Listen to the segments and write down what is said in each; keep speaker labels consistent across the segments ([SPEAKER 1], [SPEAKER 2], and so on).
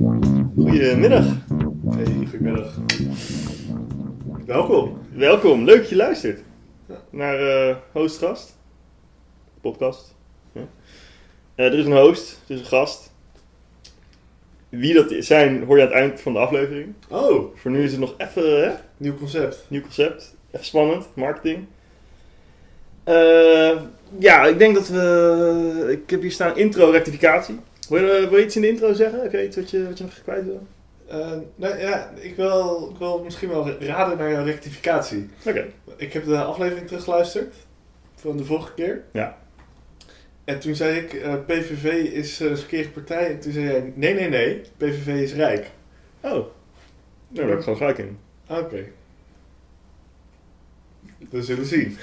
[SPEAKER 1] Goedemiddag.
[SPEAKER 2] Hey, goedemiddag. Welkom.
[SPEAKER 1] Welkom, leuk dat je luistert
[SPEAKER 2] Ja.
[SPEAKER 1] naar eh Hoostgast, podcast. Ja. Eh, er is een host, er is een gast. Wie dat zijn hoor je aan het eind van de aflevering.
[SPEAKER 2] Oh,
[SPEAKER 1] Voor nu is het nog even eh, hè,
[SPEAKER 2] nieuw concept.
[SPEAKER 1] nieuw concept, even spannend, marketing. Eh, ja, ik denk dat we... Ik heb hier staan intro-rectificatie. Wil je, eh, wil je iets in de intro zeggen? Heb je iets wat je, wat je nog kwijt wil?
[SPEAKER 2] Eh, nou ja, ik wil, ik wil misschien wel raden naar jouw rectificatie.
[SPEAKER 1] Oké.
[SPEAKER 2] Ik heb de aflevering teruggeluisterd van de vorige keer.
[SPEAKER 1] Ja.
[SPEAKER 2] En toen zei ik, eh, PVV is eh, een verkeerde partij. En toen zei jij, nee, nee, nee, PVV is rijk. Ah,
[SPEAKER 1] Oh, daar ben ik gewoon gelijk in.
[SPEAKER 2] Oké. We zullen zien.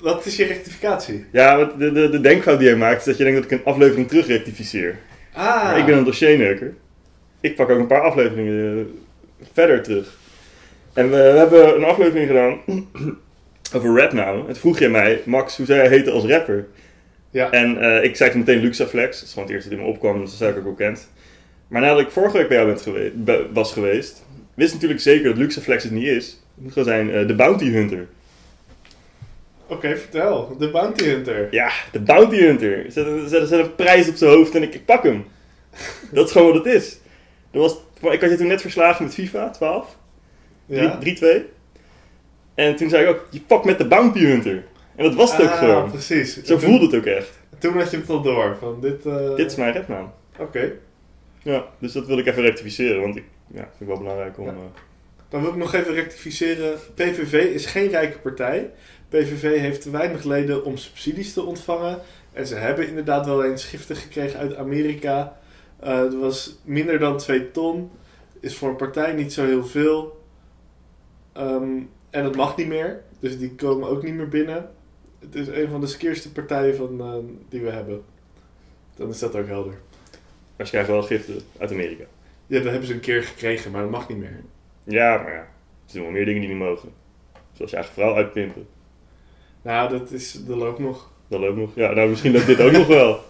[SPEAKER 2] Wat is je rectificatie?
[SPEAKER 1] Ja, wat de, de, de denkfout die jij maakt is dat je denkt dat ik een aflevering terugrectificeer.
[SPEAKER 2] Ah,
[SPEAKER 1] Maar Ik ben een dossierneuker. Ik pak ook een paar afleveringen eh, verder terug. En we, we hebben een aflevering gedaan over rap nou. En toen vroeg jij mij, Max, hoe zou jij heten als rapper?
[SPEAKER 2] Ja.
[SPEAKER 1] En eh, ik zei toen meteen Luxaflex. Dat is gewoon het eerste dat in me opkwam, dus dat zei ik ook al kent. Maar nadat ik vorige week bij jou bent gewe- be- was geweest, wist natuurlijk zeker dat Luxaflex het niet is. Het moet gewoon zijn eh, de Bounty Hunter.
[SPEAKER 2] Oké, vertel. De Bounty Hunter.
[SPEAKER 1] Ja, de Bounty Hunter. Zet, een- zet, zet een prijs op zijn hoofd en ik, ik pak hem. Dat is gewoon wat het is. Er was, ik had je toen net verslagen met FIFA 12.
[SPEAKER 2] Ja.
[SPEAKER 1] 3-2. En toen zei ik ook, je pakt met de Bounty Hunter. En dat was het ook
[SPEAKER 2] Ah,
[SPEAKER 1] gewoon.
[SPEAKER 2] precies.
[SPEAKER 1] Zo
[SPEAKER 2] En toen-
[SPEAKER 1] voelde het ook echt.
[SPEAKER 2] Toen had je het al door, van dit... eh,
[SPEAKER 1] Dit is mijn rednaam.
[SPEAKER 2] Oké,
[SPEAKER 1] Ja, dus dat wil ik even rectificeren, want ik ja, vind het wel belangrijk om...
[SPEAKER 2] Ja.
[SPEAKER 1] eh,
[SPEAKER 2] dan wil ik nog even rectificeren. PVV is geen rijke partij. PVV heeft te weinig leden om subsidies te ontvangen. En ze hebben inderdaad wel eens giften gekregen uit Amerika. Eh dat was minder dan 2 ton. Is voor een partij niet zo heel veel. Ehm, en dat mag niet meer. Dus die komen ook niet meer binnen. Het is een van de skeerste partijen van, eh, die we hebben. Dan is dat ook helder.
[SPEAKER 1] maar ze krijgen wel giften uit Amerika.
[SPEAKER 2] Ja, dat hebben ze een keer gekregen, maar dat mag niet meer.
[SPEAKER 1] Ja, maar ja. Ze doen wel meer dingen die niet mogen. Zoals je eigen vrouw uitpimpen.
[SPEAKER 2] Nou, dat, is, dat loopt nog.
[SPEAKER 1] Dat loopt nog. Ja, nou misschien loopt dit ook nog wel.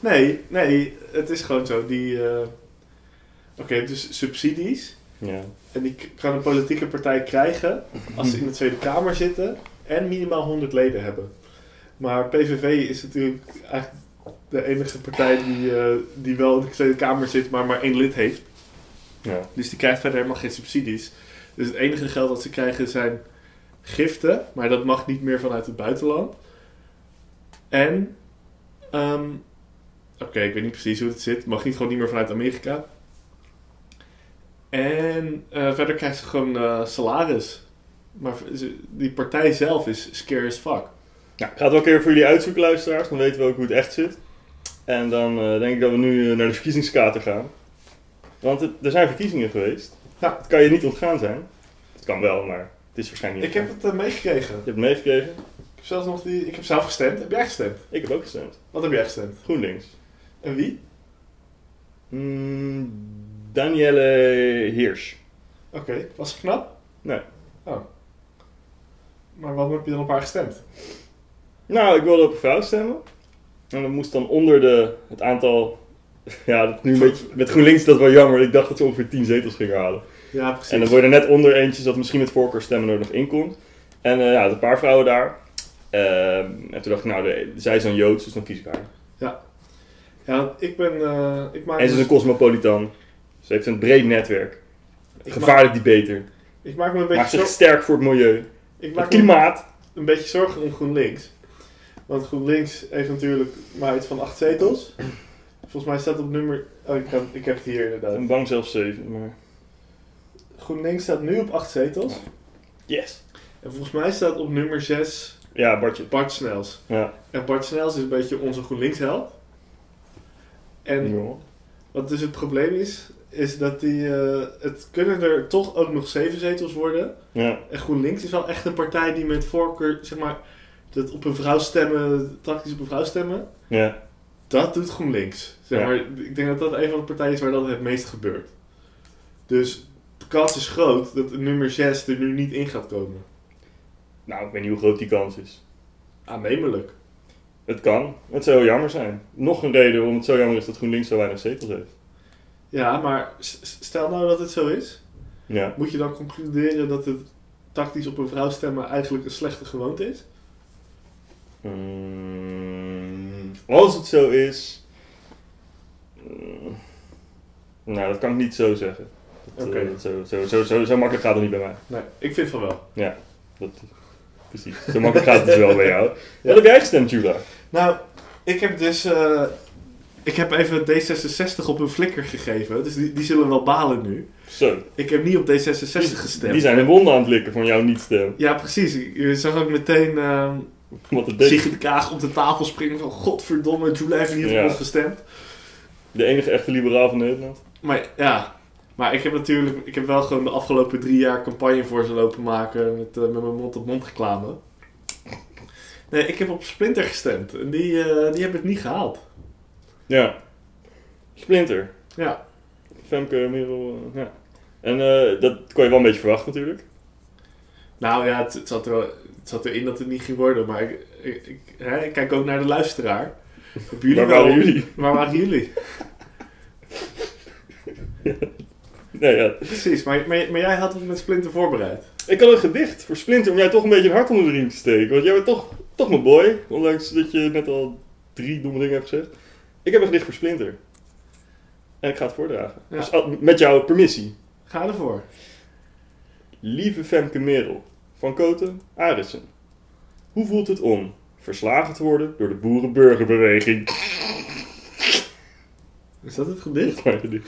[SPEAKER 2] Nee, nee, het is gewoon zo. Die, eh, Oké, dus subsidies.
[SPEAKER 1] Ja.
[SPEAKER 2] En die k- kan een politieke partij krijgen als ze in de Tweede Kamer zitten en minimaal 100 leden hebben. Maar PVV is natuurlijk eigenlijk de enige partij die, eh, die wel in de Tweede Kamer zit, maar maar één lid heeft.
[SPEAKER 1] Ja.
[SPEAKER 2] Dus die krijgt verder helemaal geen subsidies. Dus het enige geld dat ze krijgen zijn giften, maar dat mag niet meer vanuit het buitenland. En, ehm, oké, ik weet niet precies hoe het zit, mag niet gewoon niet meer vanuit Amerika. En eh, verder krijgt ze gewoon eh, salaris. Maar ze- die partij zelf is scary as fuck.
[SPEAKER 1] Nou, ik ga het wel een keer voor jullie uitzoeken, luisteraars. Dan weten we ook hoe het echt zit. En dan eh, denk ik dat we nu eh, naar de verkiezingskater gaan. Want het- er zijn verkiezingen geweest.
[SPEAKER 2] Ja.
[SPEAKER 1] Het kan je niet ontgaan zijn. Het kan wel, maar het is waarschijnlijk
[SPEAKER 2] Ik
[SPEAKER 1] niet
[SPEAKER 2] heb het eh, meegekregen.
[SPEAKER 1] ontgaan. Je hebt het meegekregen.
[SPEAKER 2] Ik heb zelfs nog die. Ik heb zelf gestemd. Heb jij gestemd?
[SPEAKER 1] Ik heb ook gestemd.
[SPEAKER 2] Wat heb jij gestemd?
[SPEAKER 1] GroenLinks.
[SPEAKER 2] En wie?
[SPEAKER 1] Mm, Danielle Heers.
[SPEAKER 2] Oké, was het knap?
[SPEAKER 1] Nee.
[SPEAKER 2] Oh. Maar waarom heb je dan op haar gestemd?
[SPEAKER 1] Nou, ik wilde op een vrouw stemmen. En dat moest dan onder de, het aantal... Ja, dat is nu een beetje, met GroenLinks is dat wel jammer. Ik dacht dat ze ongeveer 10 zetels gingen halen.
[SPEAKER 2] Ja, precies.
[SPEAKER 1] En dan word je er net onder eentje, zodat misschien met voorkeurstemmen er nog in komt. En eh, ja, er een paar vrouwen daar. Ehm, en toen dacht ik, nou, de- zij is dan Joods, dus dan kies ik haar.
[SPEAKER 2] Ja, want ik ben... eh, ik maak
[SPEAKER 1] En ze is een cosmopolitan. Ze heeft een breed netwerk.
[SPEAKER 2] ik, maak,
[SPEAKER 1] Gevaarlijk debater.
[SPEAKER 2] ik maak me een
[SPEAKER 1] Maakt
[SPEAKER 2] beetje
[SPEAKER 1] zich
[SPEAKER 2] zorgen...
[SPEAKER 1] sterk voor het milieu.
[SPEAKER 2] Ik
[SPEAKER 1] Het
[SPEAKER 2] maak me
[SPEAKER 1] klimaat.
[SPEAKER 2] een beetje zorgen om GroenLinks. Want GroenLinks heeft natuurlijk maar iets van acht zetels. Volgens mij staat op nummer... Oh, ik, kan, ik heb het hier
[SPEAKER 1] Ik
[SPEAKER 2] inderdaad.
[SPEAKER 1] bang zelfs zeven, maar...
[SPEAKER 2] GroenLinks staat nu op acht zetels.
[SPEAKER 1] Yes.
[SPEAKER 2] En volgens mij staat op nummer zes
[SPEAKER 1] Ja, Bartje.
[SPEAKER 2] Bart Snels.
[SPEAKER 1] Ja.
[SPEAKER 2] En Bart Snels is een beetje onze GroenLinks-held. En
[SPEAKER 1] Ja.
[SPEAKER 2] Wat dus het probleem is, is dat die, eh, het kunnen er toch ook nog zeven zetels worden.
[SPEAKER 1] Ja.
[SPEAKER 2] En GroenLinks is wel echt een partij die met voorkeur, zeg maar, dat op een vrouw stemmen, tactisch op een vrouw stemmen,
[SPEAKER 1] Ja.
[SPEAKER 2] dat doet GroenLinks. Zeg
[SPEAKER 1] Ja.
[SPEAKER 2] maar, ik denk dat dat een van de partijen is waar dat het meest gebeurt. Dus de kans is groot dat de nummer 6 er nu niet in gaat komen.
[SPEAKER 1] Nou, ik weet niet hoe groot die kans is.
[SPEAKER 2] Aannemelijk.
[SPEAKER 1] Het kan. Het zou heel jammer zijn. Nog een reden waarom het zo jammer is dat GroenLinks zo weinig zetels heeft.
[SPEAKER 2] Ja, maar s- s- stel nou dat het zo is.
[SPEAKER 1] Ja.
[SPEAKER 2] Moet je dan concluderen dat het tactisch op een vrouw stemmen eigenlijk een slechte gewoonte is?
[SPEAKER 1] Mm, als het zo is. mm, nou, dat kan ik niet zo zeggen. Dat, eh,
[SPEAKER 2] Oké.
[SPEAKER 1] dat zo, zo, zo, zo, zo makkelijk gaat het niet bij mij.
[SPEAKER 2] Nee, ik vind van wel.
[SPEAKER 1] Ja, dat, precies. Zo makkelijk gaat het dus wel bij jou. Wat heb jij gestemd, Jula?
[SPEAKER 2] Nou, ik heb dus... eh, ik heb even D66 op een flikker gegeven. Dus die, die zullen wel balen nu.
[SPEAKER 1] Zo.
[SPEAKER 2] Ik heb niet op D66 gestemd.
[SPEAKER 1] Die zijn hun wonden aan het likken van jouw niet-stem.
[SPEAKER 2] Ja, precies. Ik- Je zag ook meteen ehm
[SPEAKER 1] Want het deed-
[SPEAKER 2] Sigrid Kaag op de tafel springen van... Godverdomme, Julie heeft niet op
[SPEAKER 1] Ja.
[SPEAKER 2] ons gestemd.
[SPEAKER 1] de enige echte liberaal van Nederland.
[SPEAKER 2] Maar ja, maar ik heb natuurlijk, ik heb wel gewoon de afgelopen drie jaar campagne voor ze lopen maken met, eh, met mijn mond-op-mond reclame. Nee, ik heb op Splinter gestemd en die, eh, die hebben het niet gehaald.
[SPEAKER 1] Ja. Splinter.
[SPEAKER 2] Ja,
[SPEAKER 1] Femke, Merel. eh, ja. En eh, dat kon je wel een beetje verwachten natuurlijk.
[SPEAKER 2] nou ja, het, het zat er wel, het zat erin dat het niet ging worden, maar ik, ik, ik- hè, ik kijk ook naar de luisteraar. Hebben jullie
[SPEAKER 1] Waar waren
[SPEAKER 2] wel-
[SPEAKER 1] jullie?
[SPEAKER 2] Waar waren jullie?
[SPEAKER 1] Nee, ja.
[SPEAKER 2] Precies, maar, maar, maar jij had het met Splinter voorbereid.
[SPEAKER 1] Ik had een gedicht voor Splinter om jij toch een beetje een hart onder de riem te steken. Want jij bent toch, toch mijn boy. Ondanks dat je net al drie domme dingen hebt gezegd. Ik heb een gedicht voor Splinter. En ik ga het voordragen.
[SPEAKER 2] Ja.
[SPEAKER 1] Dus, ah, met jouw permissie.
[SPEAKER 2] Ga ervoor.
[SPEAKER 1] Lieve Femke Merel, van Koten, Arissen. Hoe voelt het om verslagen te worden door de boerenburgerbeweging?
[SPEAKER 2] Is dat het gedicht?
[SPEAKER 1] Maar die-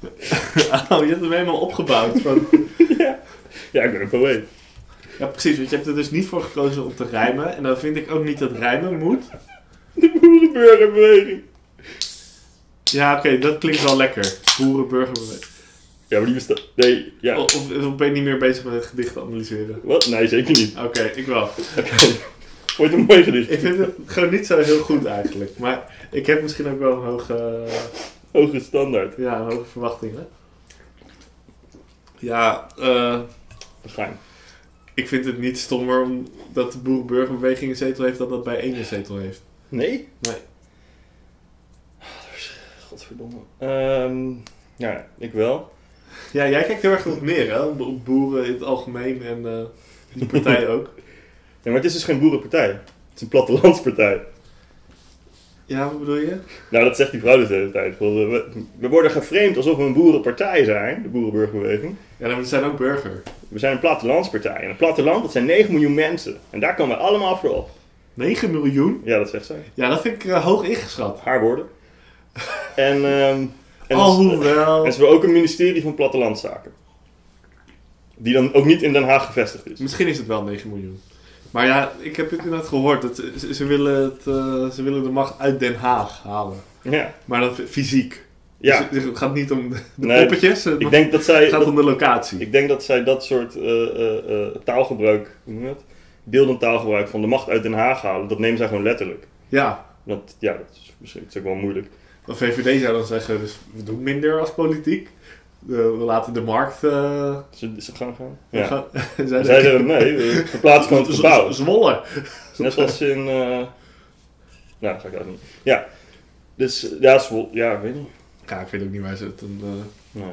[SPEAKER 2] Oh, je hebt hem helemaal opgebouwd. Van,
[SPEAKER 1] ja, ik ben een poëet.
[SPEAKER 2] Ja, precies, want je hebt er dus niet voor gekozen om te rijmen. En dan vind ik ook niet dat rijmen moet.
[SPEAKER 1] De boerenburgerbeweging.
[SPEAKER 2] Ja, oké, dat klinkt wel lekker. Boerenburgerbeweging.
[SPEAKER 1] Ja, maar die bestaat... Nee, ja.
[SPEAKER 2] Of, of, of ben je niet meer bezig met het gedicht te analyseren?
[SPEAKER 1] Wat? Nee, zeker niet.
[SPEAKER 2] Oké, ik wel.
[SPEAKER 1] Wordt een mooi gedicht.
[SPEAKER 2] Ik vind het gewoon niet zo heel goed eigenlijk. Maar ik heb misschien ook wel een hoge,
[SPEAKER 1] Hoge standaard.
[SPEAKER 2] ja, een hoge verwachting. Hè? Ja, eh,
[SPEAKER 1] Geheim.
[SPEAKER 2] ik vind het niet stommer om- dat de boerenburgerbeweging een zetel heeft dan dat bij één een zetel heeft.
[SPEAKER 1] Nee?
[SPEAKER 2] Nee.
[SPEAKER 1] Godverdomme. Ehm, ja, ik wel.
[SPEAKER 2] Ja, jij kijkt heel erg op meer, hè? Op- Op boeren in het algemeen en eh, die partij ook.
[SPEAKER 1] Ja, maar het is dus geen boerenpartij. Het is een plattelandspartij.
[SPEAKER 2] Ja, wat bedoel je?
[SPEAKER 1] Nou, dat zegt die vrouw dus de hele tijd. Van, eh, We, we worden geframed alsof we een boerenpartij zijn, de boerenburgerbeweging.
[SPEAKER 2] Ja, dan zijn ook burger.
[SPEAKER 1] We zijn een plattelandspartij. En een platteland, dat zijn 9 miljoen mensen. En daar komen we allemaal voor op.
[SPEAKER 2] 9 miljoen?
[SPEAKER 1] Ja, dat zegt zij.
[SPEAKER 2] Ja, dat vind ik eh, hoog ingeschat.
[SPEAKER 1] Haar woorden. En, ehm en,
[SPEAKER 2] Oh. Alhoewel.
[SPEAKER 1] en ze hebben ook een ministerie van plattelandszaken. Die dan ook niet in Den Haag gevestigd is.
[SPEAKER 2] Misschien is het wel 9 miljoen. Maar ja, ik heb het inderdaad gehoord. Dat ze- ze, ze willen het, eh, ze willen de macht uit Den Haag halen.
[SPEAKER 1] Ja.
[SPEAKER 2] Maar dan f- fysiek.
[SPEAKER 1] ja.
[SPEAKER 2] Dus, dus het gaat niet om de
[SPEAKER 1] Nee,
[SPEAKER 2] poppetjes. eh, Het,
[SPEAKER 1] Ik denk dat zij...
[SPEAKER 2] gaat
[SPEAKER 1] dat-
[SPEAKER 2] om de locatie.
[SPEAKER 1] Ik denk dat zij dat soort eh, eh, eh, taalgebruik, hoe noem je dat? Beeldend taalgebruik van de macht uit Den Haag halen, dat nemen zij gewoon letterlijk.
[SPEAKER 2] Ja.
[SPEAKER 1] Want ja, dat is misschien dat is ook wel moeilijk.
[SPEAKER 2] De VVD zou dan zeggen, dus we doen minder als politiek. Eh, we laten de markt... eh
[SPEAKER 1] Ze, ze gaan gaan. Ja.
[SPEAKER 2] gaan- Zij
[SPEAKER 1] Zij
[SPEAKER 2] zeggen,
[SPEAKER 1] zeiden nee, we verplaatsen gewoon het
[SPEAKER 2] "Z- z-
[SPEAKER 1] gebouw.
[SPEAKER 2] Zwolle.
[SPEAKER 1] Net zoals in. eh, Nou, dat ga ik dat niet. Ja. Dus eh, ja, Zwol- ja, ik weet niet.
[SPEAKER 2] Ja, ik weet ook niet waar ze het... dan, eh,
[SPEAKER 1] Nee.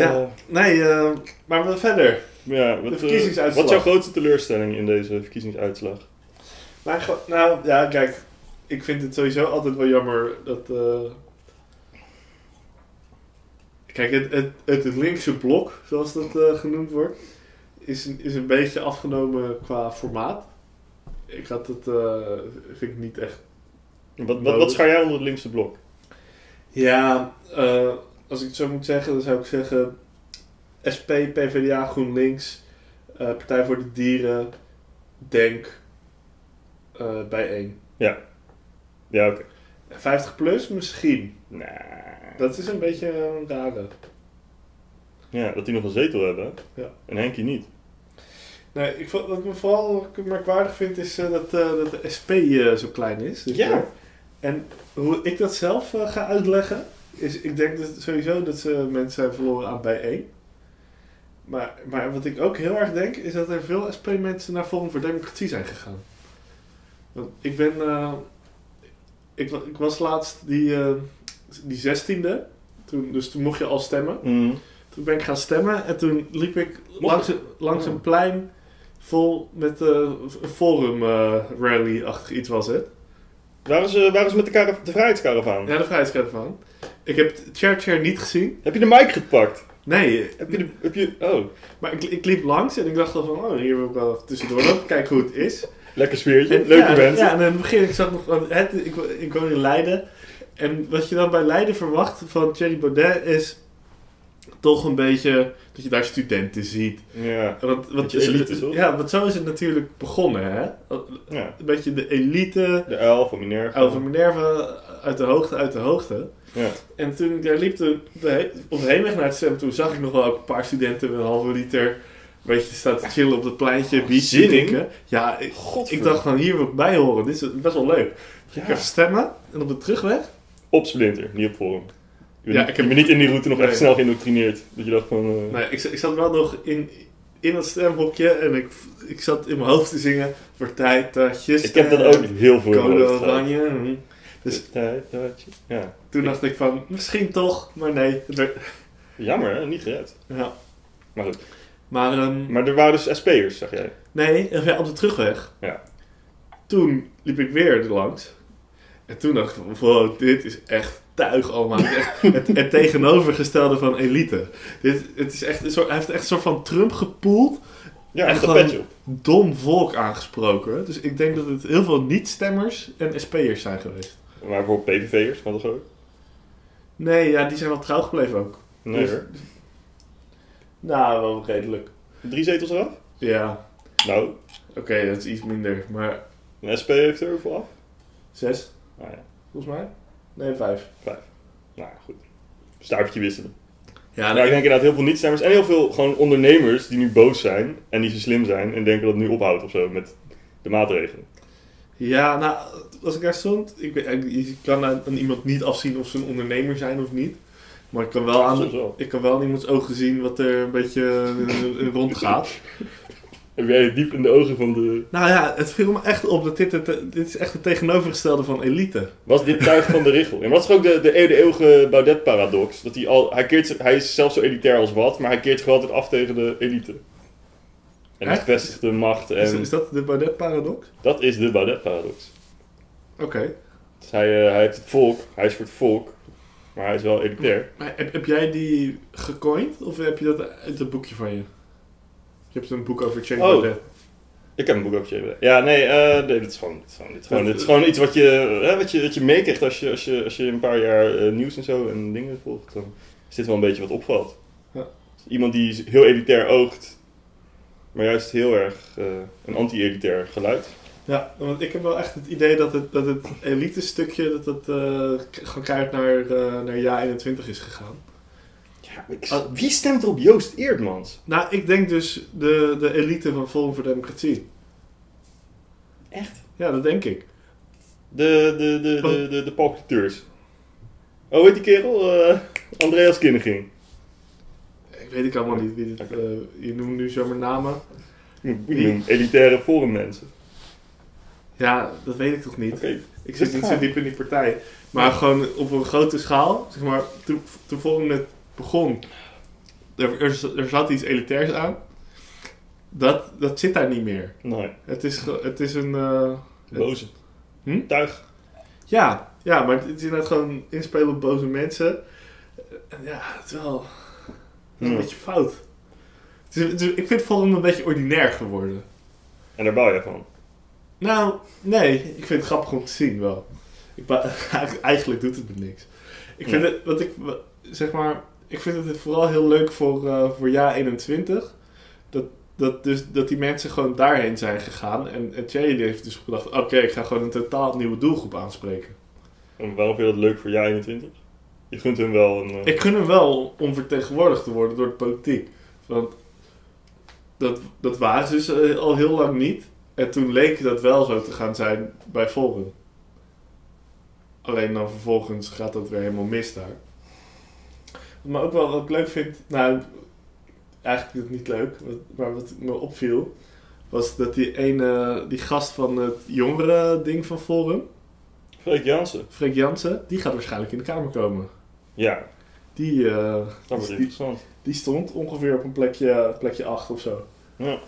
[SPEAKER 2] Ja.
[SPEAKER 1] Eh,
[SPEAKER 2] Nee, eh, maar we verder.
[SPEAKER 1] ja, wat,
[SPEAKER 2] De
[SPEAKER 1] eh,
[SPEAKER 2] verkiezingsuitslag.
[SPEAKER 1] wat is jouw grootste teleurstelling in deze verkiezingsuitslag?
[SPEAKER 2] Maar gewoon- nou, ja, kijk. Ik vind het sowieso altijd wel jammer dat... eh, Kijk, het, het, het, het linkse blok, zoals dat eh, genoemd wordt, is, een- is een beetje afgenomen qua formaat. Ik had het, eh, vind ik niet echt...
[SPEAKER 1] Wat, wat, wat schaar jij onder het linkse blok?
[SPEAKER 2] Ja, eh, als ik het zo moet zeggen, dan zou ik zeggen... SP, PvdA, GroenLinks, eh, Partij voor de Dieren, DENK, eh bijeen.
[SPEAKER 1] Ja, oké.
[SPEAKER 2] 50 plus misschien.
[SPEAKER 1] Nou.
[SPEAKER 2] Dat is een beetje een rare.
[SPEAKER 1] Ja, dat die nog een zetel hebben. hè?
[SPEAKER 2] Ja.
[SPEAKER 1] En Henkie niet.
[SPEAKER 2] Nee, ik, vond- wat me vooral merkwaardig vind is eh, dat, eh, dat de SP eh, zo klein is. dit
[SPEAKER 1] Ja.
[SPEAKER 2] jaar. En hoe ik dat zelf eh, ga uitleggen, is ik denk dat sowieso dat ze mensen zijn verloren aan bijeen. Maar, maar wat ik ook heel erg denk, is dat er veel SP-mensen naar Forum voor Democratie zijn gegaan. Want ik ben... eh, ik, wa- ik was laatst die, eh, die 16e. Toen, dus toen mocht je al stemmen.
[SPEAKER 1] Mm.
[SPEAKER 2] Toen ben ik gaan stemmen en toen liep ik
[SPEAKER 1] Mocht Oh.
[SPEAKER 2] langs, een- langs een plein vol met eh, een forum eh, rally-achtig iets was het.
[SPEAKER 1] Waar is, eh, waar is met de, kara- de vrijheidskaravaan?
[SPEAKER 2] Ja, de vrijheidskaart van. Ik heb Chair Chair niet gezien.
[SPEAKER 1] Heb je de mic gepakt?
[SPEAKER 2] Nee,
[SPEAKER 1] Heb je de, heb je, oh,
[SPEAKER 2] maar ik, ik liep langs en ik dacht al van, oh, hier wil ik wel even tussendoor lopen, kijken hoe het is.
[SPEAKER 1] lekker sfeertje.
[SPEAKER 2] En,
[SPEAKER 1] Leuke
[SPEAKER 2] ja,
[SPEAKER 1] mensen.
[SPEAKER 2] Ja, en in het begin, ik zag nog, want het, ik, wo- ik woon in Leiden. En wat je dan bij Leiden verwacht van Thierry Baudet is toch een beetje dat je daar studenten ziet.
[SPEAKER 1] Ja.
[SPEAKER 2] Want, want
[SPEAKER 1] Beetje elite, toch?
[SPEAKER 2] ja, want zo is het natuurlijk begonnen, hè?
[SPEAKER 1] ja.
[SPEAKER 2] Een beetje de elite,
[SPEAKER 1] De elf van Minerva.
[SPEAKER 2] over Minerva, uit de hoogte, uit de hoogte.
[SPEAKER 1] Ja.
[SPEAKER 2] En toen ik daar liep, toen, de he- op de heenweg naar het stem, toen zag ik nog wel ook een paar studenten met een halve liter, een beetje staan te chillen op dat pleintje,
[SPEAKER 1] Oh, zin
[SPEAKER 2] biertje
[SPEAKER 1] in?
[SPEAKER 2] drinken. Ja, ik,
[SPEAKER 1] Godver.
[SPEAKER 2] ik dacht van, hier wil ik bij horen, dit is best wel leuk. Dus
[SPEAKER 1] Ja.
[SPEAKER 2] Ik heb stemmen, en op de terugweg,
[SPEAKER 1] Op Splinter, niet op Forum. Je bent,
[SPEAKER 2] Ja,
[SPEAKER 1] niet-
[SPEAKER 2] ik heb-
[SPEAKER 1] je bent niet in die route nog
[SPEAKER 2] Nee.
[SPEAKER 1] echt snel geïndoctrineerd. Dat je dacht van... eh,
[SPEAKER 2] nou ja, ik, za- ik zat wel nog in, in dat stemhokje en ik, ik zat in mijn hoofd te zingen, partij, tasjes,
[SPEAKER 1] ik heb dat ook heel veel in mijn
[SPEAKER 2] Code
[SPEAKER 1] hoofd gehad.
[SPEAKER 2] oranje. hm. Dus-
[SPEAKER 1] Tijd dat je- Ja.
[SPEAKER 2] Toen dacht ik van, misschien toch, maar nee. het werd-
[SPEAKER 1] Jammer, hè? Niet gered.
[SPEAKER 2] Ja.
[SPEAKER 1] Maar goed.
[SPEAKER 2] Maar, ehm,
[SPEAKER 1] Maar er waren dus SP'ers, zeg jij.
[SPEAKER 2] nee, of ja, op de terugweg.
[SPEAKER 1] Ja.
[SPEAKER 2] Toen liep ik weer er langs. En toen dacht ik van, wow, dit is echt tuig allemaal. Het, is echt het, het tegenovergestelde van elite. Dit, het is echt een soort, hij heeft echt een soort van Trump gepoeld,
[SPEAKER 1] Ja,
[SPEAKER 2] En
[SPEAKER 1] met dat
[SPEAKER 2] gewoon-
[SPEAKER 1] petje op.
[SPEAKER 2] dom volk aangesproken. Dus ik denk dat het heel veel niet-stemmers en SP'ers zijn geweest.
[SPEAKER 1] Maar voor PVV'ers, wat toch ook?
[SPEAKER 2] Nee, ja, die zijn wel trouw gebleven ook.
[SPEAKER 1] Nee
[SPEAKER 2] Dus-
[SPEAKER 1] hoor.
[SPEAKER 2] Nou, wel redelijk.
[SPEAKER 1] Drie zetels eraf?
[SPEAKER 2] Ja,
[SPEAKER 1] Nou,
[SPEAKER 2] oké, dat is iets minder. Maar
[SPEAKER 1] een SP heeft er hoeveel af?
[SPEAKER 2] zes,
[SPEAKER 1] Nou ja,
[SPEAKER 2] volgens mij? Nee, vijf.
[SPEAKER 1] nou ja, goed. Stuivertje wisselen.
[SPEAKER 2] Ja,
[SPEAKER 1] Nou, ik denk inderdaad heel veel niet-stemmers en heel veel gewoon ondernemers die nu boos zijn en niet zo slim zijn en denken dat het nu ophoudt of zo met de maatregelen.
[SPEAKER 2] Ja, nou, als ik daar stond, ik weet, eigenlijk- je kan aan, aan iemand niet afzien of ze een ondernemer zijn of niet. Maar ik kan wel
[SPEAKER 1] Soms
[SPEAKER 2] aan,
[SPEAKER 1] wel.
[SPEAKER 2] ik kan wel aan iemands ogen zien wat er een beetje eh, rondgaat.
[SPEAKER 1] Heb jij diep in de ogen van de...
[SPEAKER 2] Nou ja, het viel me echt op dat dit, het, dit is echt het tegenovergestelde van elite.
[SPEAKER 1] Was dit tuig van de richel? En dat is toch ook de, de eeuw- de eeuwige Baudet-paradox. Dat hij al... Hij, keert, zich- hij is zelf zo elitair als wat, maar hij keert zich altijd af tegen de elite. En de
[SPEAKER 2] Echt?
[SPEAKER 1] gevestigde macht
[SPEAKER 2] Is,
[SPEAKER 1] en...
[SPEAKER 2] is dat de Baudet-paradox?
[SPEAKER 1] Dat is de Baudet-paradox.
[SPEAKER 2] Oké.
[SPEAKER 1] Dus hij, eh, hij heeft het volk, hij is voor het volk, maar hij is wel elitair.
[SPEAKER 2] Maar heb, heb jij die gecoind of heb je dat uit het boekje van je? Je hebt een boek over Chen
[SPEAKER 1] Oh,
[SPEAKER 2] Baudet.
[SPEAKER 1] Ik heb een boek over Jay Ja, nee, eh, nee, dit is gewoon, dit is gewoon, dit is gewoon, dit is gewoon iets wat je, hè, wat je, wat je meekrijgt als je, als, je, als je een paar jaar eh, nieuws en zo en dingen volgt. Dan is dit wel een beetje wat opvalt. Dus
[SPEAKER 2] Ja.
[SPEAKER 1] Iemand die heel elitair oogt, maar juist heel erg eh, een anti-elitair geluid.
[SPEAKER 2] Ja, want ik heb wel echt het idee dat het, dat het elite stukje dat het, eh, k- gewoon keihard naar, eh, naar ja 21 is gegaan.
[SPEAKER 1] Ja, wie stemt er op Joost Eerdmans?
[SPEAKER 2] Nou, ik denk dus de, de elite van Forum voor Democratie.
[SPEAKER 1] Echt?
[SPEAKER 2] Ja, dat denk ik.
[SPEAKER 1] De, de, de, de, de, de palkiteurs. Oh, weet die kerel? Eh, Andreas Kinneging.
[SPEAKER 2] Ik weet ik allemaal niet wie dit...
[SPEAKER 1] Oké.
[SPEAKER 2] eh, je noemt nu zomaar namen.
[SPEAKER 1] Boeien, Elitaire forummensen.
[SPEAKER 2] Ja, dat weet ik toch niet.
[SPEAKER 1] Oké,
[SPEAKER 2] Ik zit niet zo diep in die partij. Maar gewoon op een grote schaal, zeg maar, toen, toen Forum net begon, er, er, er zat iets elitairs aan. Dat, dat zit daar niet meer.
[SPEAKER 1] nee.
[SPEAKER 2] Het is, ge- het is een... eh,
[SPEAKER 1] Boze.
[SPEAKER 2] Hm?
[SPEAKER 1] Tuig.
[SPEAKER 2] Ja, ja, maar het is inderdaad gewoon inspelen op boze mensen. En ja, het is wel het is een
[SPEAKER 1] Ja.
[SPEAKER 2] beetje fout. Het is- het is- ik vind Forum een beetje ordinair geworden.
[SPEAKER 1] En daar bouw jij van.
[SPEAKER 2] Nou, nee, ik vind het grappig om te zien wel. Ik ba- eigenlijk doet het me niks. Ik vind
[SPEAKER 1] Ja.
[SPEAKER 2] het, wat ik, wa- zeg maar, ik vind het vooral heel leuk voor, eh voor jaar 21. Dat, dat, dus, dat die mensen gewoon daarheen zijn gegaan. En, en Thierry die heeft dus gedacht, oké, ik ga gewoon een totaal nieuwe doelgroep aanspreken.
[SPEAKER 1] En waarom vind je dat leuk voor jij 21? Je gunt hem wel een... eh,
[SPEAKER 2] Ik gun hem wel om vertegenwoordigd te worden door de politiek. Want dat, dat waren ze dus eh, al heel lang niet. En toen leek dat wel zo te gaan zijn bij Forum. Alleen dan vervolgens gaat dat weer helemaal mis daar. Maar ook wel wat ik leuk vind, nou, eigenlijk niet leuk, wat- maar wat me opviel, was dat die ene, die gast van het jongere ding van Forum,
[SPEAKER 1] Freek Jansen.
[SPEAKER 2] Freek Jansen, die gaat waarschijnlijk in de Kamer komen.
[SPEAKER 1] Ja,
[SPEAKER 2] Die, eh,
[SPEAKER 1] dat wordt
[SPEAKER 2] die-
[SPEAKER 1] interessant.
[SPEAKER 2] die stond ongeveer op een plekje, plekje 8 of zo.
[SPEAKER 1] Ja.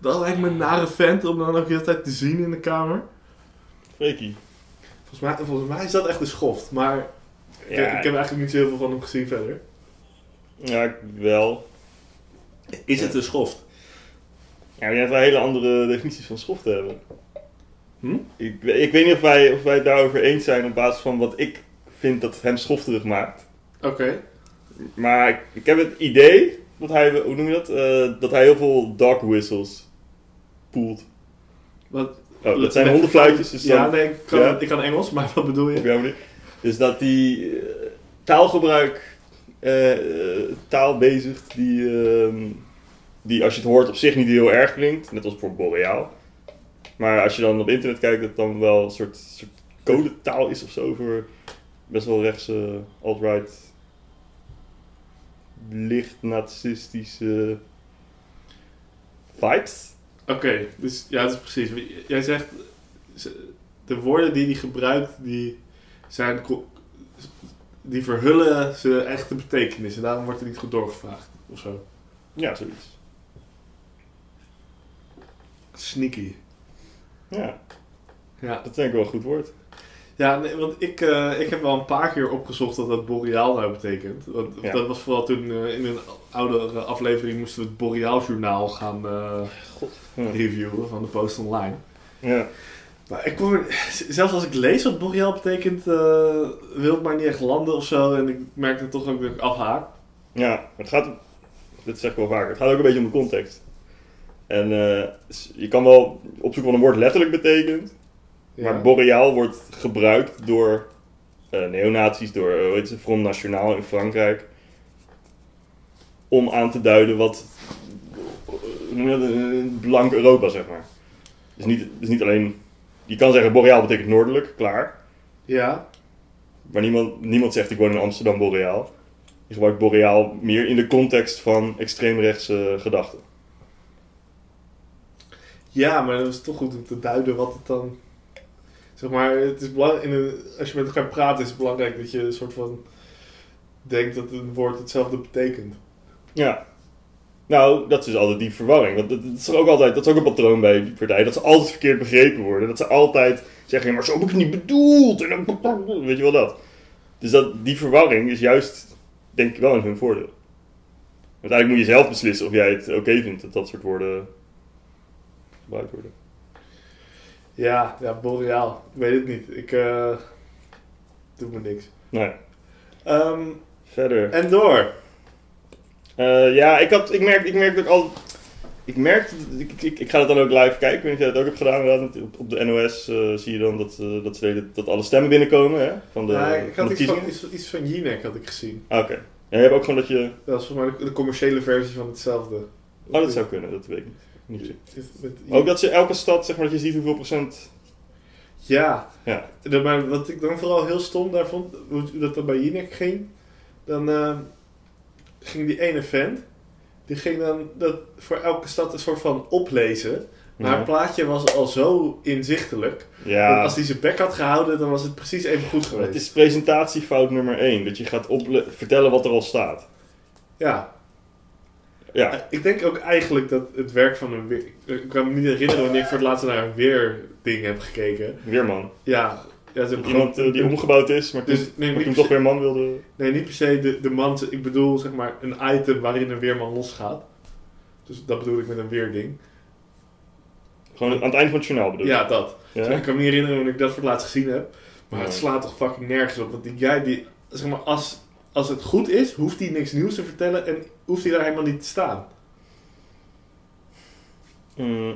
[SPEAKER 2] Dat lijkt me een nare vent om dan ook de hele tijd te zien in de Kamer.
[SPEAKER 1] Freekie.
[SPEAKER 2] Volgens mij, volgens mij is dat echt een schoft, maar ik,
[SPEAKER 1] Ja,
[SPEAKER 2] ik heb eigenlijk niet zo heel veel van hem gezien verder.
[SPEAKER 1] ja, ik wel.
[SPEAKER 2] Is het een schoft?
[SPEAKER 1] Ja, maar je hebt wel hele andere definities van schoft te hebben.
[SPEAKER 2] Hm?
[SPEAKER 1] Ik, we- ik weet niet of wij, of wij het daarover eens zijn op basis van wat ik vind dat het hem schofterig maakt.
[SPEAKER 2] Oké.
[SPEAKER 1] Maar ik, ik heb het idee dat hij, hoe noem je dat? Eh, dat hij heel veel dog whistles poelt.
[SPEAKER 2] Wat,
[SPEAKER 1] Oh, dat zijn hondenfluitjes. Dus
[SPEAKER 2] ja,
[SPEAKER 1] dan,
[SPEAKER 2] nee, ik kan,
[SPEAKER 1] ja.
[SPEAKER 2] ik kan Engels, maar wat bedoel
[SPEAKER 1] op
[SPEAKER 2] je?
[SPEAKER 1] jouw manier. Dus dat die eh, taalgebruik, eh, eh, taal bezigt die, ehm, die als je het hoort op zich niet heel erg klinkt. Net als voor Boreaal. Maar als je dan op internet kijkt, dat het dan wel een soort, soort codetaal is of zo voor best wel rechtse alt-right licht nazistische vibes.
[SPEAKER 2] Oké, dus ja, dat is precies. Jij zegt, ze- de woorden die hij gebruikt, die, zijn, co- die verhullen zijn echte betekenis. En daarom wordt er niet goed doorgevraagd of zo.
[SPEAKER 1] Ja, zoiets.
[SPEAKER 2] Sneaky.
[SPEAKER 1] Ja,
[SPEAKER 2] Ja,
[SPEAKER 1] dat denk ik wel een goed woord.
[SPEAKER 2] ja nee, want ik, eh, ik heb wel een paar keer opgezocht wat dat boreaal nou betekent. Want,
[SPEAKER 1] Ja.
[SPEAKER 2] Dat was vooral toen eh, in een oudere aflevering moesten we het boreaaljournaal gaan eh,
[SPEAKER 1] God. Ja.
[SPEAKER 2] reviewen van de Post Online.
[SPEAKER 1] ja.
[SPEAKER 2] Maar ik kom er- z- zelfs als ik lees wat boreaal betekent, eh, wil het maar niet echt landen of zo. En ik merk dan toch ook dat ik afhaak.
[SPEAKER 1] Ja, maar het gaat, dit zeg ik wel vaker, het gaat ook een beetje om de context. En eh, s- je kan wel opzoeken wat een woord letterlijk betekent, maar boreaal wordt gebruikt door eh neonazies, door eh, hoe heet het, Front National in Frankrijk, om aan te duiden wat hoe noem je dat, een blank Europa, zeg maar. Dus niet, dus niet alleen, je kan zeggen boreaal betekent noordelijk, klaar.
[SPEAKER 2] ja.
[SPEAKER 1] Maar niemand, niemand zegt ik woon in Amsterdam Boreaal. Je gebruikt Boreaal meer in de context van extreemrechtse gedachten.
[SPEAKER 2] ja, maar dat is toch goed om te duiden wat het dan... Zeg maar, het is belang- in een, als je met elkaar praat is het belangrijk dat je een soort van... Denkt dat een woord hetzelfde betekent.
[SPEAKER 1] Ja. Nou, dat is altijd die verwarring. Want dat, dat is er ook altijd, dat is ook een patroon bij die partij. Dat ze altijd verkeerd begrepen worden. Dat ze altijd zeggen, ja, maar zo heb ik het niet bedoeld. En dan, weet je wel dat. Dus dat, die verwarring is juist, denk ik wel, in hun voordeel. Want eigenlijk moet je zelf beslissen of jij het oké vindt dat dat soort woorden gebruikt worden.
[SPEAKER 2] Ja, ja, boreaal. Ik weet het niet. Ik eh doe me niks.
[SPEAKER 1] Nou ja,
[SPEAKER 2] Ehm,
[SPEAKER 1] verder.
[SPEAKER 2] en door.
[SPEAKER 1] Eh, ja, ik, had, ik, merk, ik merk ook al. Ik merk, ik, ik, ik ga dat dan ook live kijken. Ik weet niet of jij dat ook hebt gedaan. inderdaad. Op, op de NOS eh, zie je dan dat, eh, dat, ze deden- dat alle stemmen binnenkomen hè, van de,
[SPEAKER 2] Ja, ik
[SPEAKER 1] van
[SPEAKER 2] had
[SPEAKER 1] de
[SPEAKER 2] iets van,
[SPEAKER 1] verkiezingen.
[SPEAKER 2] iets, iets van Jinek had ik gezien.
[SPEAKER 1] Ah, Oké. Ja, je hebt ook gewoon dat je.
[SPEAKER 2] Dat is volgens mij de, de commerciële versie van hetzelfde.
[SPEAKER 1] Oh, dat zou kunnen, dat weet ik niet. niet. zeker.
[SPEAKER 2] Met- met-
[SPEAKER 1] Ook dat ze elke stad, zeg maar, dat je ziet hoeveel procent.
[SPEAKER 2] Ja.
[SPEAKER 1] Ja.
[SPEAKER 2] Dat- maar wat ik dan vooral heel stom daar vond, hoe hoe dat dan bij Jinek ging, dan eh, ging die ene vent, die ging dan dat voor elke stad een soort van oplezen. Maar het
[SPEAKER 1] Ja.
[SPEAKER 2] plaatje was al zo inzichtelijk. Dat
[SPEAKER 1] Mhm. Ja,
[SPEAKER 2] als hij zijn bek had gehouden, dan was het precies even goed
[SPEAKER 1] het
[SPEAKER 2] geweest.
[SPEAKER 1] is presentatiefout nummer 1. Dat je gaat ople- vertellen wat er al staat.
[SPEAKER 2] Ja.
[SPEAKER 1] Ja,
[SPEAKER 2] Ik denk ook eigenlijk dat het werk van een weer... Ik kan me niet herinneren wanneer ik voor het laatst naar een weerding heb gekeken.
[SPEAKER 1] Weerman.
[SPEAKER 2] Ja. ja ze hebben
[SPEAKER 1] Iemand
[SPEAKER 2] gewoon-
[SPEAKER 1] eh, die omgebouwd is, maar toen,
[SPEAKER 2] Dus nee,
[SPEAKER 1] maar toen
[SPEAKER 2] niet per
[SPEAKER 1] toch
[SPEAKER 2] se-
[SPEAKER 1] weer man wilde.
[SPEAKER 2] Nee, niet per se de, de man. Ik bedoel zeg maar een item waarin een weerman losgaat. Dus dat bedoel ik met een weerding.
[SPEAKER 1] Gewoon aan het einde van het journaal bedoel je?
[SPEAKER 2] Ja, dat.
[SPEAKER 1] Ja?
[SPEAKER 2] Ik kan me niet herinneren wanneer ik dat voor het laatst gezien heb. Maar het
[SPEAKER 1] Ja.
[SPEAKER 2] slaat toch fucking nergens op. Want die guy die, zeg maar, als, als het goed is, hoeft hij niks nieuws te vertellen en hoeft hij daar helemaal niet te staan.
[SPEAKER 1] Eh,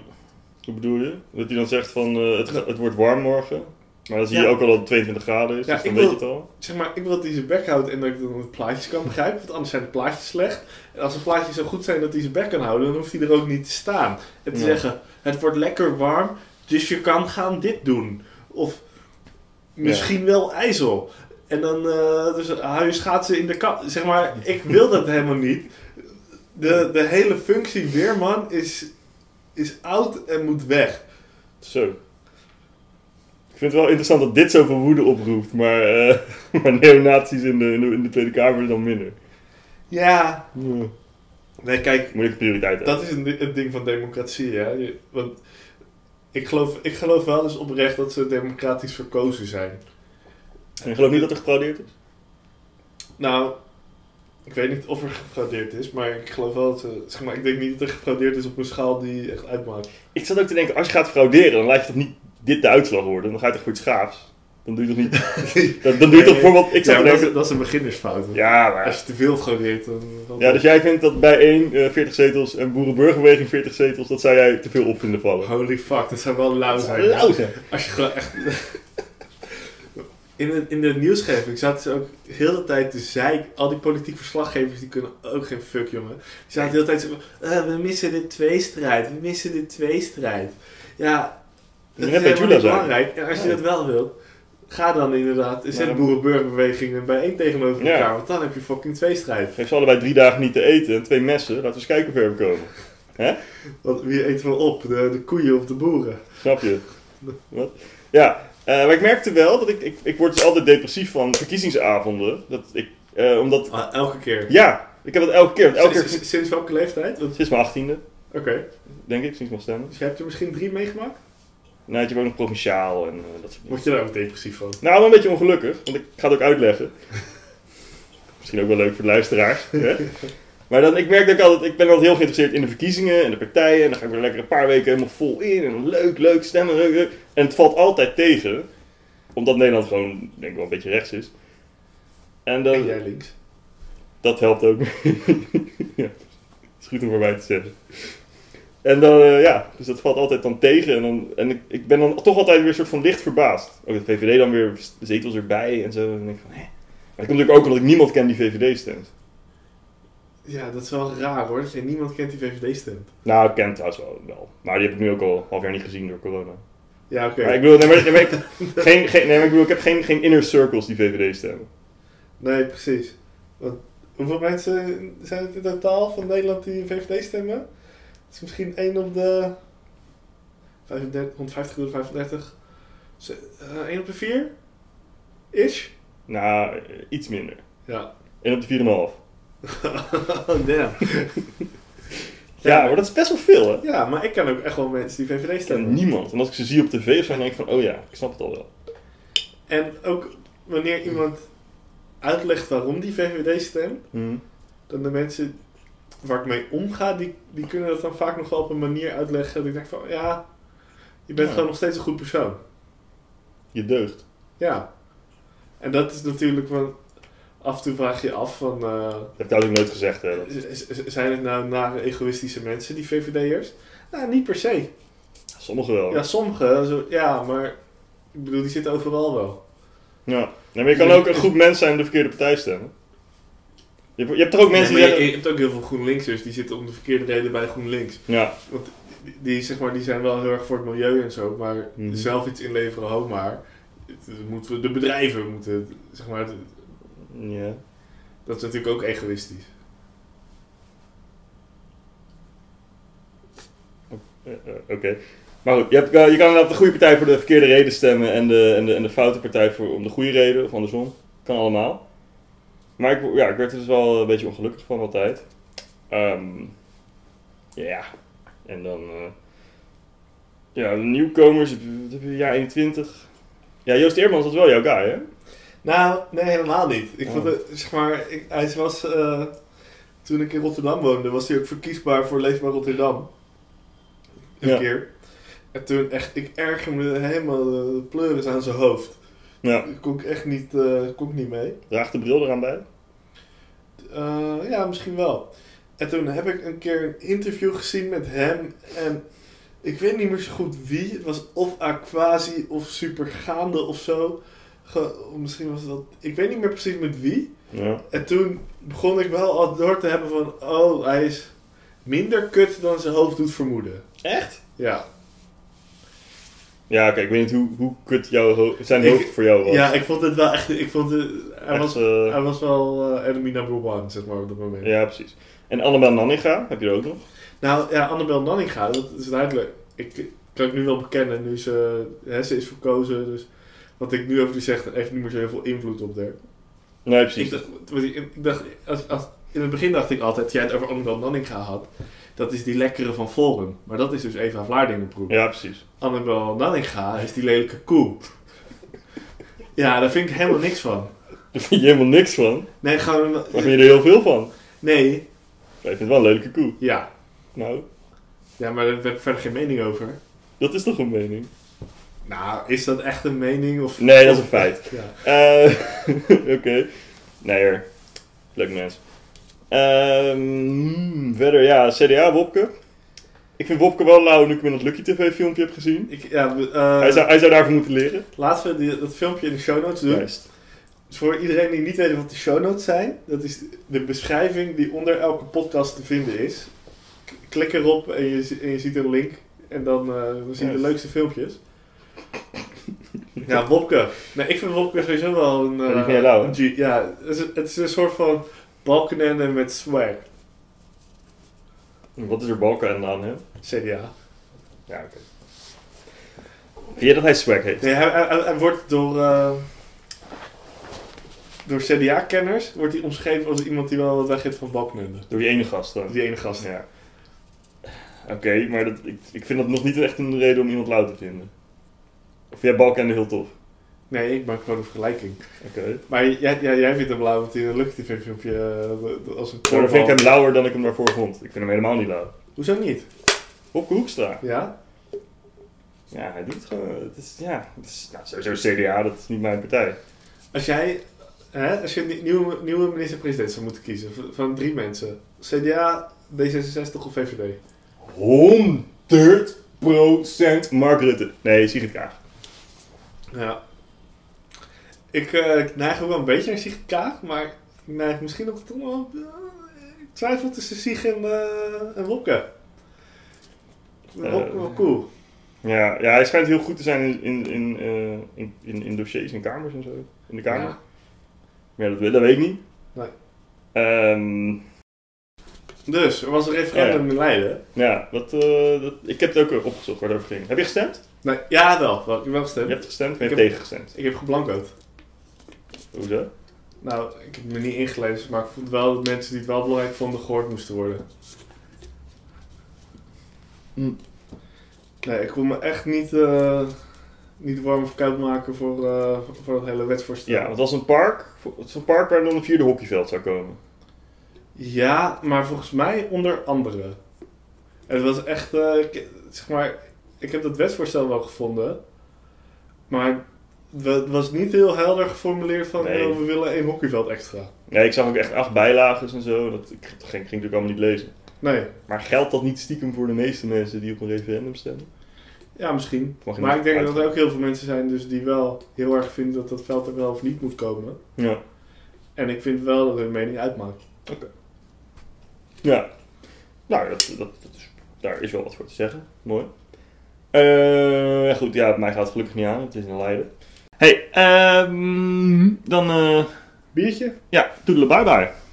[SPEAKER 1] hoe bedoel je? Dat hij dan zegt van eh, het, ga- het wordt warm morgen. Maar dan zie je
[SPEAKER 2] Ja.
[SPEAKER 1] ook al dat het 22 graden is.
[SPEAKER 2] Ja,
[SPEAKER 1] dus dan
[SPEAKER 2] ik
[SPEAKER 1] weet je
[SPEAKER 2] wil-
[SPEAKER 1] het al.
[SPEAKER 2] Zeg maar, ik wil dat hij zijn bek houdt en dat ik dan de plaatjes kan begrijpen. Want anders zijn de plaatjes slecht. En als de plaatjes zo goed zijn dat hij zijn bek kan houden, dan hoeft hij er ook niet te staan. En te
[SPEAKER 1] Ja.
[SPEAKER 2] zeggen, het wordt lekker warm, dus je kan gaan dit doen. Of misschien wel ijzel. En dan eh, dus hou je schaatsen in de kap. Zeg maar, ik wil dat helemaal niet. De, de hele functie weerman is, is oud en moet weg.
[SPEAKER 1] Zo. Ik vind het wel interessant dat dit zoveel woede oproept, maar, eh maar neonazies in de, in de, in de Tweede Kamer is dan minder.
[SPEAKER 2] Ja.
[SPEAKER 1] Ja.
[SPEAKER 2] Nee, kijk,
[SPEAKER 1] Moeilijke prioriteit.
[SPEAKER 2] Dat is een, di- een ding van democratie, hè? Je- Want ik geloof, ik geloof wel eens oprecht dat ze democratisch verkozen zijn.
[SPEAKER 1] En ik geloof niet dat er gefraudeerd is.
[SPEAKER 2] Nou, ik weet niet of er gefraudeerd is, maar ik geloof wel dat ze. Zeg maar, ik denk niet dat er gefraudeerd is op een schaal die echt uitmaakt.
[SPEAKER 1] Ik zat ook te denken, als je gaat frauderen, dan laat je toch niet dit de uitslag worden? Dan ga je toch voor iets gaafs? Dan doe je toch niet... Dan, dan doe je toch bijvoorbeeld... Ik zat te
[SPEAKER 2] ja, maar dat,
[SPEAKER 1] denken-
[SPEAKER 2] is, dat is een beginnersfout. hè.
[SPEAKER 1] Ja, maar...
[SPEAKER 2] Als je te veel fraudeert, dan. dan
[SPEAKER 1] Ja, dus jij vindt dat bij één eh, 40 zetels en Boerenburgerbeweging 40 zetels, dat zou jij te veel op vinden vallen.
[SPEAKER 2] Holy fuck, dat zou wel lauw zijn. Als je gewoon echt. In de, in de nieuwsgeving zaten ze ook de hele tijd te zeik. Al die politiek verslaggevers die kunnen ook geen fuck, jongen. Die zaten de hele tijd zo van, "Eh, we missen de tweestrijd, we missen de tweestrijd. Ja,
[SPEAKER 1] Je
[SPEAKER 2] dat
[SPEAKER 1] bent bij
[SPEAKER 2] is helemaal
[SPEAKER 1] Jula
[SPEAKER 2] niet
[SPEAKER 1] zijn.
[SPEAKER 2] belangrijk. En als je
[SPEAKER 1] Nee.
[SPEAKER 2] dat wel wilt, ga dan inderdaad, zet
[SPEAKER 1] dan-
[SPEAKER 2] boerenburgerbewegingen bijeen tegenover
[SPEAKER 1] Ja.
[SPEAKER 2] elkaar. Want dan heb je fucking tweestrijd.
[SPEAKER 1] Geef ze allebei drie dagen niet te eten en twee messen. Laten we eens kijken of we er komen.
[SPEAKER 2] Want wie eet wel op? De, de koeien of de boeren?
[SPEAKER 1] Snap je? Wat? Ja, eh, maar ik merkte wel dat ik, ik... Ik word dus altijd depressief van verkiezingsavonden. Dat ik... eh, omdat...
[SPEAKER 2] Ah, elke keer.
[SPEAKER 1] Ja, ik heb dat elke keer. want Elke keer...
[SPEAKER 2] Sinds, sinds welke leeftijd? Want-
[SPEAKER 1] Sinds mijn achttiende,
[SPEAKER 2] Oké,
[SPEAKER 1] denk ik. Sinds mijn stemmen.
[SPEAKER 2] dus je hebt er misschien drie meegemaakt?
[SPEAKER 1] Nou, je hebt ook nog provinciaal en eh, dat soort dingen.
[SPEAKER 2] Word je daar ook depressief van?
[SPEAKER 1] Nou, wel een beetje ongelukkig, want ik ga het ook uitleggen. Misschien ook wel leuk voor de luisteraars. Hè? Maar dan, ik merk dat ik altijd, ik ben altijd heel geïnteresseerd in de verkiezingen en de partijen. En dan ga ik weer lekker een paar weken helemaal vol in. En leuk, leuk, stemmen, leuk, leuk. En het valt altijd tegen. Omdat Nederland gewoon, denk ik wel, een beetje rechts is. En dan,
[SPEAKER 2] En jij links.
[SPEAKER 1] dat helpt ook. ja, is goed om erbij te zeggen. En dan, eh, ja, dus dat valt altijd dan tegen. En, dan, en ik, ik ben dan toch altijd weer een soort van licht verbaasd. Ook de VVD dan weer zetels erbij en zo. En dan denk ik van, hè. Maar dat komt natuurlijk ook omdat ik niemand ken die VVD stemt.
[SPEAKER 2] Ja, dat is wel raar hoor, dat je niemand kent die VVD stemt.
[SPEAKER 1] Nou, ik ken het trouwens wel, wel. Maar die heb ik nu ook al een half jaar niet gezien door corona.
[SPEAKER 2] Ja, oké.
[SPEAKER 1] Maar ik bedoel, nee, maar, nee, maar ik, geen, geen, nee, maar ik, bedoel ik heb geen, geen inner circles die VVD stemmen.
[SPEAKER 2] Nee, precies. Want hoeveel mensen zijn het in totaal van Nederland die VVD stemmen? Het is misschien 1 op de 35, 150 door de 35. 1 eh, op de 4? Ish?
[SPEAKER 1] Nou, eh, iets minder.
[SPEAKER 2] Ja.
[SPEAKER 1] 1 op de 4,5.
[SPEAKER 2] oh, damn.
[SPEAKER 1] Ja, maar dat is best wel veel, hè?
[SPEAKER 2] Ja, maar ik ken ook echt wel mensen die VVD
[SPEAKER 1] Ik ken
[SPEAKER 2] stemmen.
[SPEAKER 1] niemand. En als ik ze zie op tv of zo, dan denk ik van, oh ja, ik snap het al wel.
[SPEAKER 2] En ook wanneer iemand uitlegt waarom die VVD stemt, dan de mensen waar ik mee omga, die, die kunnen dat dan vaak nog wel op een manier uitleggen. Dat ik denk van, ja, je bent
[SPEAKER 1] Ja.
[SPEAKER 2] gewoon nog steeds een goed persoon.
[SPEAKER 1] Je deugt.
[SPEAKER 2] Ja. En dat is natuurlijk van, af en toe vraag je je af van, eh,
[SPEAKER 1] Dat heb ik eigenlijk nooit gezegd. Hè. Dat-
[SPEAKER 2] z- z- zijn het nou nare egoïstische mensen, die VVD'ers? Nou, niet per se.
[SPEAKER 1] Sommigen wel.
[SPEAKER 2] Ja, sommigen, zo, ja, maar ik bedoel, die zitten overal wel.
[SPEAKER 1] Ja. Nee, maar je kan ook een groep mensen zijn en de verkeerde partij stemmen. Je hebt, je hebt toch ook mensen
[SPEAKER 2] Nee, maar
[SPEAKER 1] die
[SPEAKER 2] je,
[SPEAKER 1] zeggen...
[SPEAKER 2] je hebt ook heel veel GroenLinksers, die zitten om de verkeerde reden bij GroenLinks.
[SPEAKER 1] Ja,
[SPEAKER 2] Die- Die, zeg maar, die zijn wel heel erg voor het milieu en zo, maar
[SPEAKER 1] Mhm.
[SPEAKER 2] zelf iets inleveren, ho maar. Het- het moeten we- de bedrijven moeten, zeg maar, het-
[SPEAKER 1] ja.
[SPEAKER 2] dat is natuurlijk ook egoïstisch.
[SPEAKER 1] Eh, eh, oké. Maar goed, je, hebt, eh, je kan inderdaad de goede partij voor de verkeerde reden stemmen en de, en de, en de foute partij voor, om de goede reden, of andersom. Kan allemaal. Maar ik, ja, ik werd er dus wel een beetje ongelukkig van altijd. Ehm, ja, en dan... eh, ja, de nieuwkomers, wat heb je, jaar 21. Ja, Joost Eermans, dat is wel jouw guy, hè?
[SPEAKER 2] Nou, nee, helemaal niet. Ik
[SPEAKER 1] Oh.
[SPEAKER 2] vond het, zeg maar, ik, hij was, eh, toen ik in Rotterdam woonde, was hij ook verkiesbaar voor Leefbaar Rotterdam. Een
[SPEAKER 1] Ja.
[SPEAKER 2] keer. En toen echt, ik erger me helemaal eh, de pleuris aan zijn hoofd.
[SPEAKER 1] Ja,
[SPEAKER 2] Daar kon ik echt niet, eh, kon ik niet mee.
[SPEAKER 1] draagt de bril eraan bij.
[SPEAKER 2] Eh, ja, misschien wel. En toen heb ik een keer een interview gezien met hem. En ik weet niet meer zo goed wie. Het was of Aquasi of Supergaande of zo. Ge- misschien was het dat. Ik weet niet meer precies met wie.
[SPEAKER 1] Ja.
[SPEAKER 2] En toen begon ik wel al door te hebben van. Oh, hij is minder kut dan zijn hoofd doet vermoeden.
[SPEAKER 1] Echt?
[SPEAKER 2] Ja.
[SPEAKER 1] Ja, oké, ik weet niet hoe, hoe kut jouw ho- zijn
[SPEAKER 2] Ik-
[SPEAKER 1] hoofd voor jou was.
[SPEAKER 2] Ja, ik vond het wel echt... Ik vond het, hij,
[SPEAKER 1] Echt,
[SPEAKER 2] was,
[SPEAKER 1] eh,
[SPEAKER 2] hij was wel eh, enemy number one, zeg maar, op dat moment.
[SPEAKER 1] ja, precies. En Annabel Nanninga, heb je er ook nog?
[SPEAKER 2] Nou ja, Annabel Nanninga, dat is duidelijk. Ik kan ik nu wel bekennen, nu ze, hè, ze is verkozen. Dus wat ik nu over die zeg, dat heeft niet meer zo heel veel invloed op haar.
[SPEAKER 1] Nee,
[SPEAKER 2] Ik
[SPEAKER 1] precies.
[SPEAKER 2] dacht, wat ik- ik dacht als, als, in het begin dacht ik altijd, jij het over Annabel Nanninga had. Dat is die lekkere van Forum. Maar dat is dus Eva Vlaardingenbroek.
[SPEAKER 1] Ja, precies.
[SPEAKER 2] Annabel Nanninga is die lelijke koe. ja, daar vind ik helemaal niks van.
[SPEAKER 1] Daar vind je helemaal niks van.
[SPEAKER 2] Nee, gewoon...
[SPEAKER 1] Maar vind je er heel veel van.
[SPEAKER 2] Nee,
[SPEAKER 1] Maar ik vind het wel een lelijke koe.
[SPEAKER 2] ja.
[SPEAKER 1] Nou,
[SPEAKER 2] Ja, maar daar heb ik verder geen mening over.
[SPEAKER 1] dat is toch een mening?
[SPEAKER 2] Nou, is dat echt een mening? Of...
[SPEAKER 1] Nee, dat is een feit.
[SPEAKER 2] Ja.
[SPEAKER 1] Eh, Oké. Nee hoor. Leuk mens. Ehm, verder, ja, CDA, Wopke. Ik vind Wopke wel lauw nu ik hem in dat Lucky TV filmpje heb gezien.
[SPEAKER 2] Ik, ja, we- eh,
[SPEAKER 1] hij, zou, hij zou daarvoor moeten leren.
[SPEAKER 2] Laten we die- dat filmpje in de show notes doen.
[SPEAKER 1] Juist.
[SPEAKER 2] Dus voor iedereen die niet weet wat de show notes zijn, dat is de beschrijving die onder elke podcast te vinden is. K- Klik erop en je, zi- en je ziet een link. En dan, eh, dan zie je de
[SPEAKER 1] Juist.
[SPEAKER 2] leukste filmpjes. Ja, Wopke. Nee, ik vind Wopke sowieso wel een...
[SPEAKER 1] Ja, die
[SPEAKER 2] eh,
[SPEAKER 1] vind je lauw, hè?
[SPEAKER 2] een G- ja, het is, het is een soort van Balkenende met swag.
[SPEAKER 1] Wat is er Balkan aan hem?
[SPEAKER 2] CDA.
[SPEAKER 1] Ja, oké. Vind je dat hij swag heeft?
[SPEAKER 2] Nee, hij, hij- hij- hij wordt door, eh, door CDA-kenners wordt hij omschreven als iemand die wel wat weg heeft van Balkenende.
[SPEAKER 1] Door die ene gast dan?
[SPEAKER 2] Die ene gast.
[SPEAKER 1] Ja. Oké, maar dat, ik, ik vind dat nog niet echt een reden om iemand lauw te vinden. Of jij Balkan heel tof.
[SPEAKER 2] Nee, ik maak gewoon een vergelijking.
[SPEAKER 1] Oké.
[SPEAKER 2] Maar jij, jij, jij vindt hem blauw, want hij lukt die filmpje eh, als een
[SPEAKER 1] Maar dan
[SPEAKER 2] korfbal.
[SPEAKER 1] vind ik hem lauwer dan ik hem daarvoor vond. Ik vind hem helemaal niet lauw.
[SPEAKER 2] Hoezo niet?
[SPEAKER 1] Op Hoekstra.
[SPEAKER 2] Ja?
[SPEAKER 1] Ja, hij doet het gewoon. Het is, ja, het is, nou, sowieso CDA, dat is niet mijn partij.
[SPEAKER 2] Als jij, hè, als je een nieuwe, nieuwe minister-president zou moeten kiezen v- van drie mensen. CDA, D66 of VVD?
[SPEAKER 1] 100% Mark Rutte. Nee, Sigrid Kaag.
[SPEAKER 2] Ja. Ik, eh, ik neig ook wel een beetje naar Sigrid Kaag, maar ik neig misschien ook toch wel... eh, ik twijfel tussen Sieg en, eh en Wopke.
[SPEAKER 1] Eh.
[SPEAKER 2] Wopke wel cool.
[SPEAKER 1] Ja, ja, hij schijnt heel goed te zijn in, in, in, eh, in, in, in dossiers en kamers en zo. In de kamer.
[SPEAKER 2] Ja.
[SPEAKER 1] Maar ja, dat, weet- dat weet ik niet.
[SPEAKER 2] Nee.
[SPEAKER 1] Ehm,
[SPEAKER 2] Dus, er was een referendum in Leiden.
[SPEAKER 1] ja, dat, eh, dat, ik heb het ook opgezocht waar het over ging. Heb je gestemd?
[SPEAKER 2] Nee, ja, wel. wel, Ik heb wel gestemd.
[SPEAKER 1] Je hebt gestemd, maar je
[SPEAKER 2] Ik
[SPEAKER 1] hebt
[SPEAKER 2] heb-
[SPEAKER 1] tegengestemd.
[SPEAKER 2] Ik heb geblancoed.
[SPEAKER 1] Hoezo?
[SPEAKER 2] Nou, ik heb me niet ingelezen, maar ik vond wel dat mensen die het wel belangrijk vonden gehoord moesten worden.
[SPEAKER 1] Hm.
[SPEAKER 2] Nee, ik kon me echt niet, eh, niet warm of koud maken voor, eh, voor dat hele wetsvoorstel.
[SPEAKER 1] Ja, want het was een park. Het is een park waar dan een vierde hockeyveld zou komen.
[SPEAKER 2] Ja, maar volgens mij onder andere. Het was echt, eh, ik- zeg maar, ik heb dat wetsvoorstel wel gevonden, maar het was niet heel helder geformuleerd van
[SPEAKER 1] Nee.
[SPEAKER 2] eh, we willen één hockeyveld extra.
[SPEAKER 1] Nee, ik zag ook echt acht bijlages en zo. Dat, ik ging, ging natuurlijk allemaal niet lezen.
[SPEAKER 2] Nee,
[SPEAKER 1] Maar geldt dat niet stiekem voor de meeste mensen die op een referendum stemmen?
[SPEAKER 2] Ja, misschien.
[SPEAKER 1] Mag je
[SPEAKER 2] maar
[SPEAKER 1] niet
[SPEAKER 2] ik denk dat er
[SPEAKER 1] uitgaan.
[SPEAKER 2] ook heel veel mensen zijn dus die wel heel erg vinden dat dat veld er wel of niet moet komen.
[SPEAKER 1] Ja.
[SPEAKER 2] En ik vind wel dat hun mening uitmaakt.
[SPEAKER 1] Ja. Nou, dat, dat, dat is, daar is wel wat voor te zeggen. Mooi. Eh, ja, goed, ja, mij gaat het gelukkig niet aan. Het is in Leiden. hey, ehm, dan eh
[SPEAKER 2] Biertje?
[SPEAKER 1] ja, toedelen bye bye.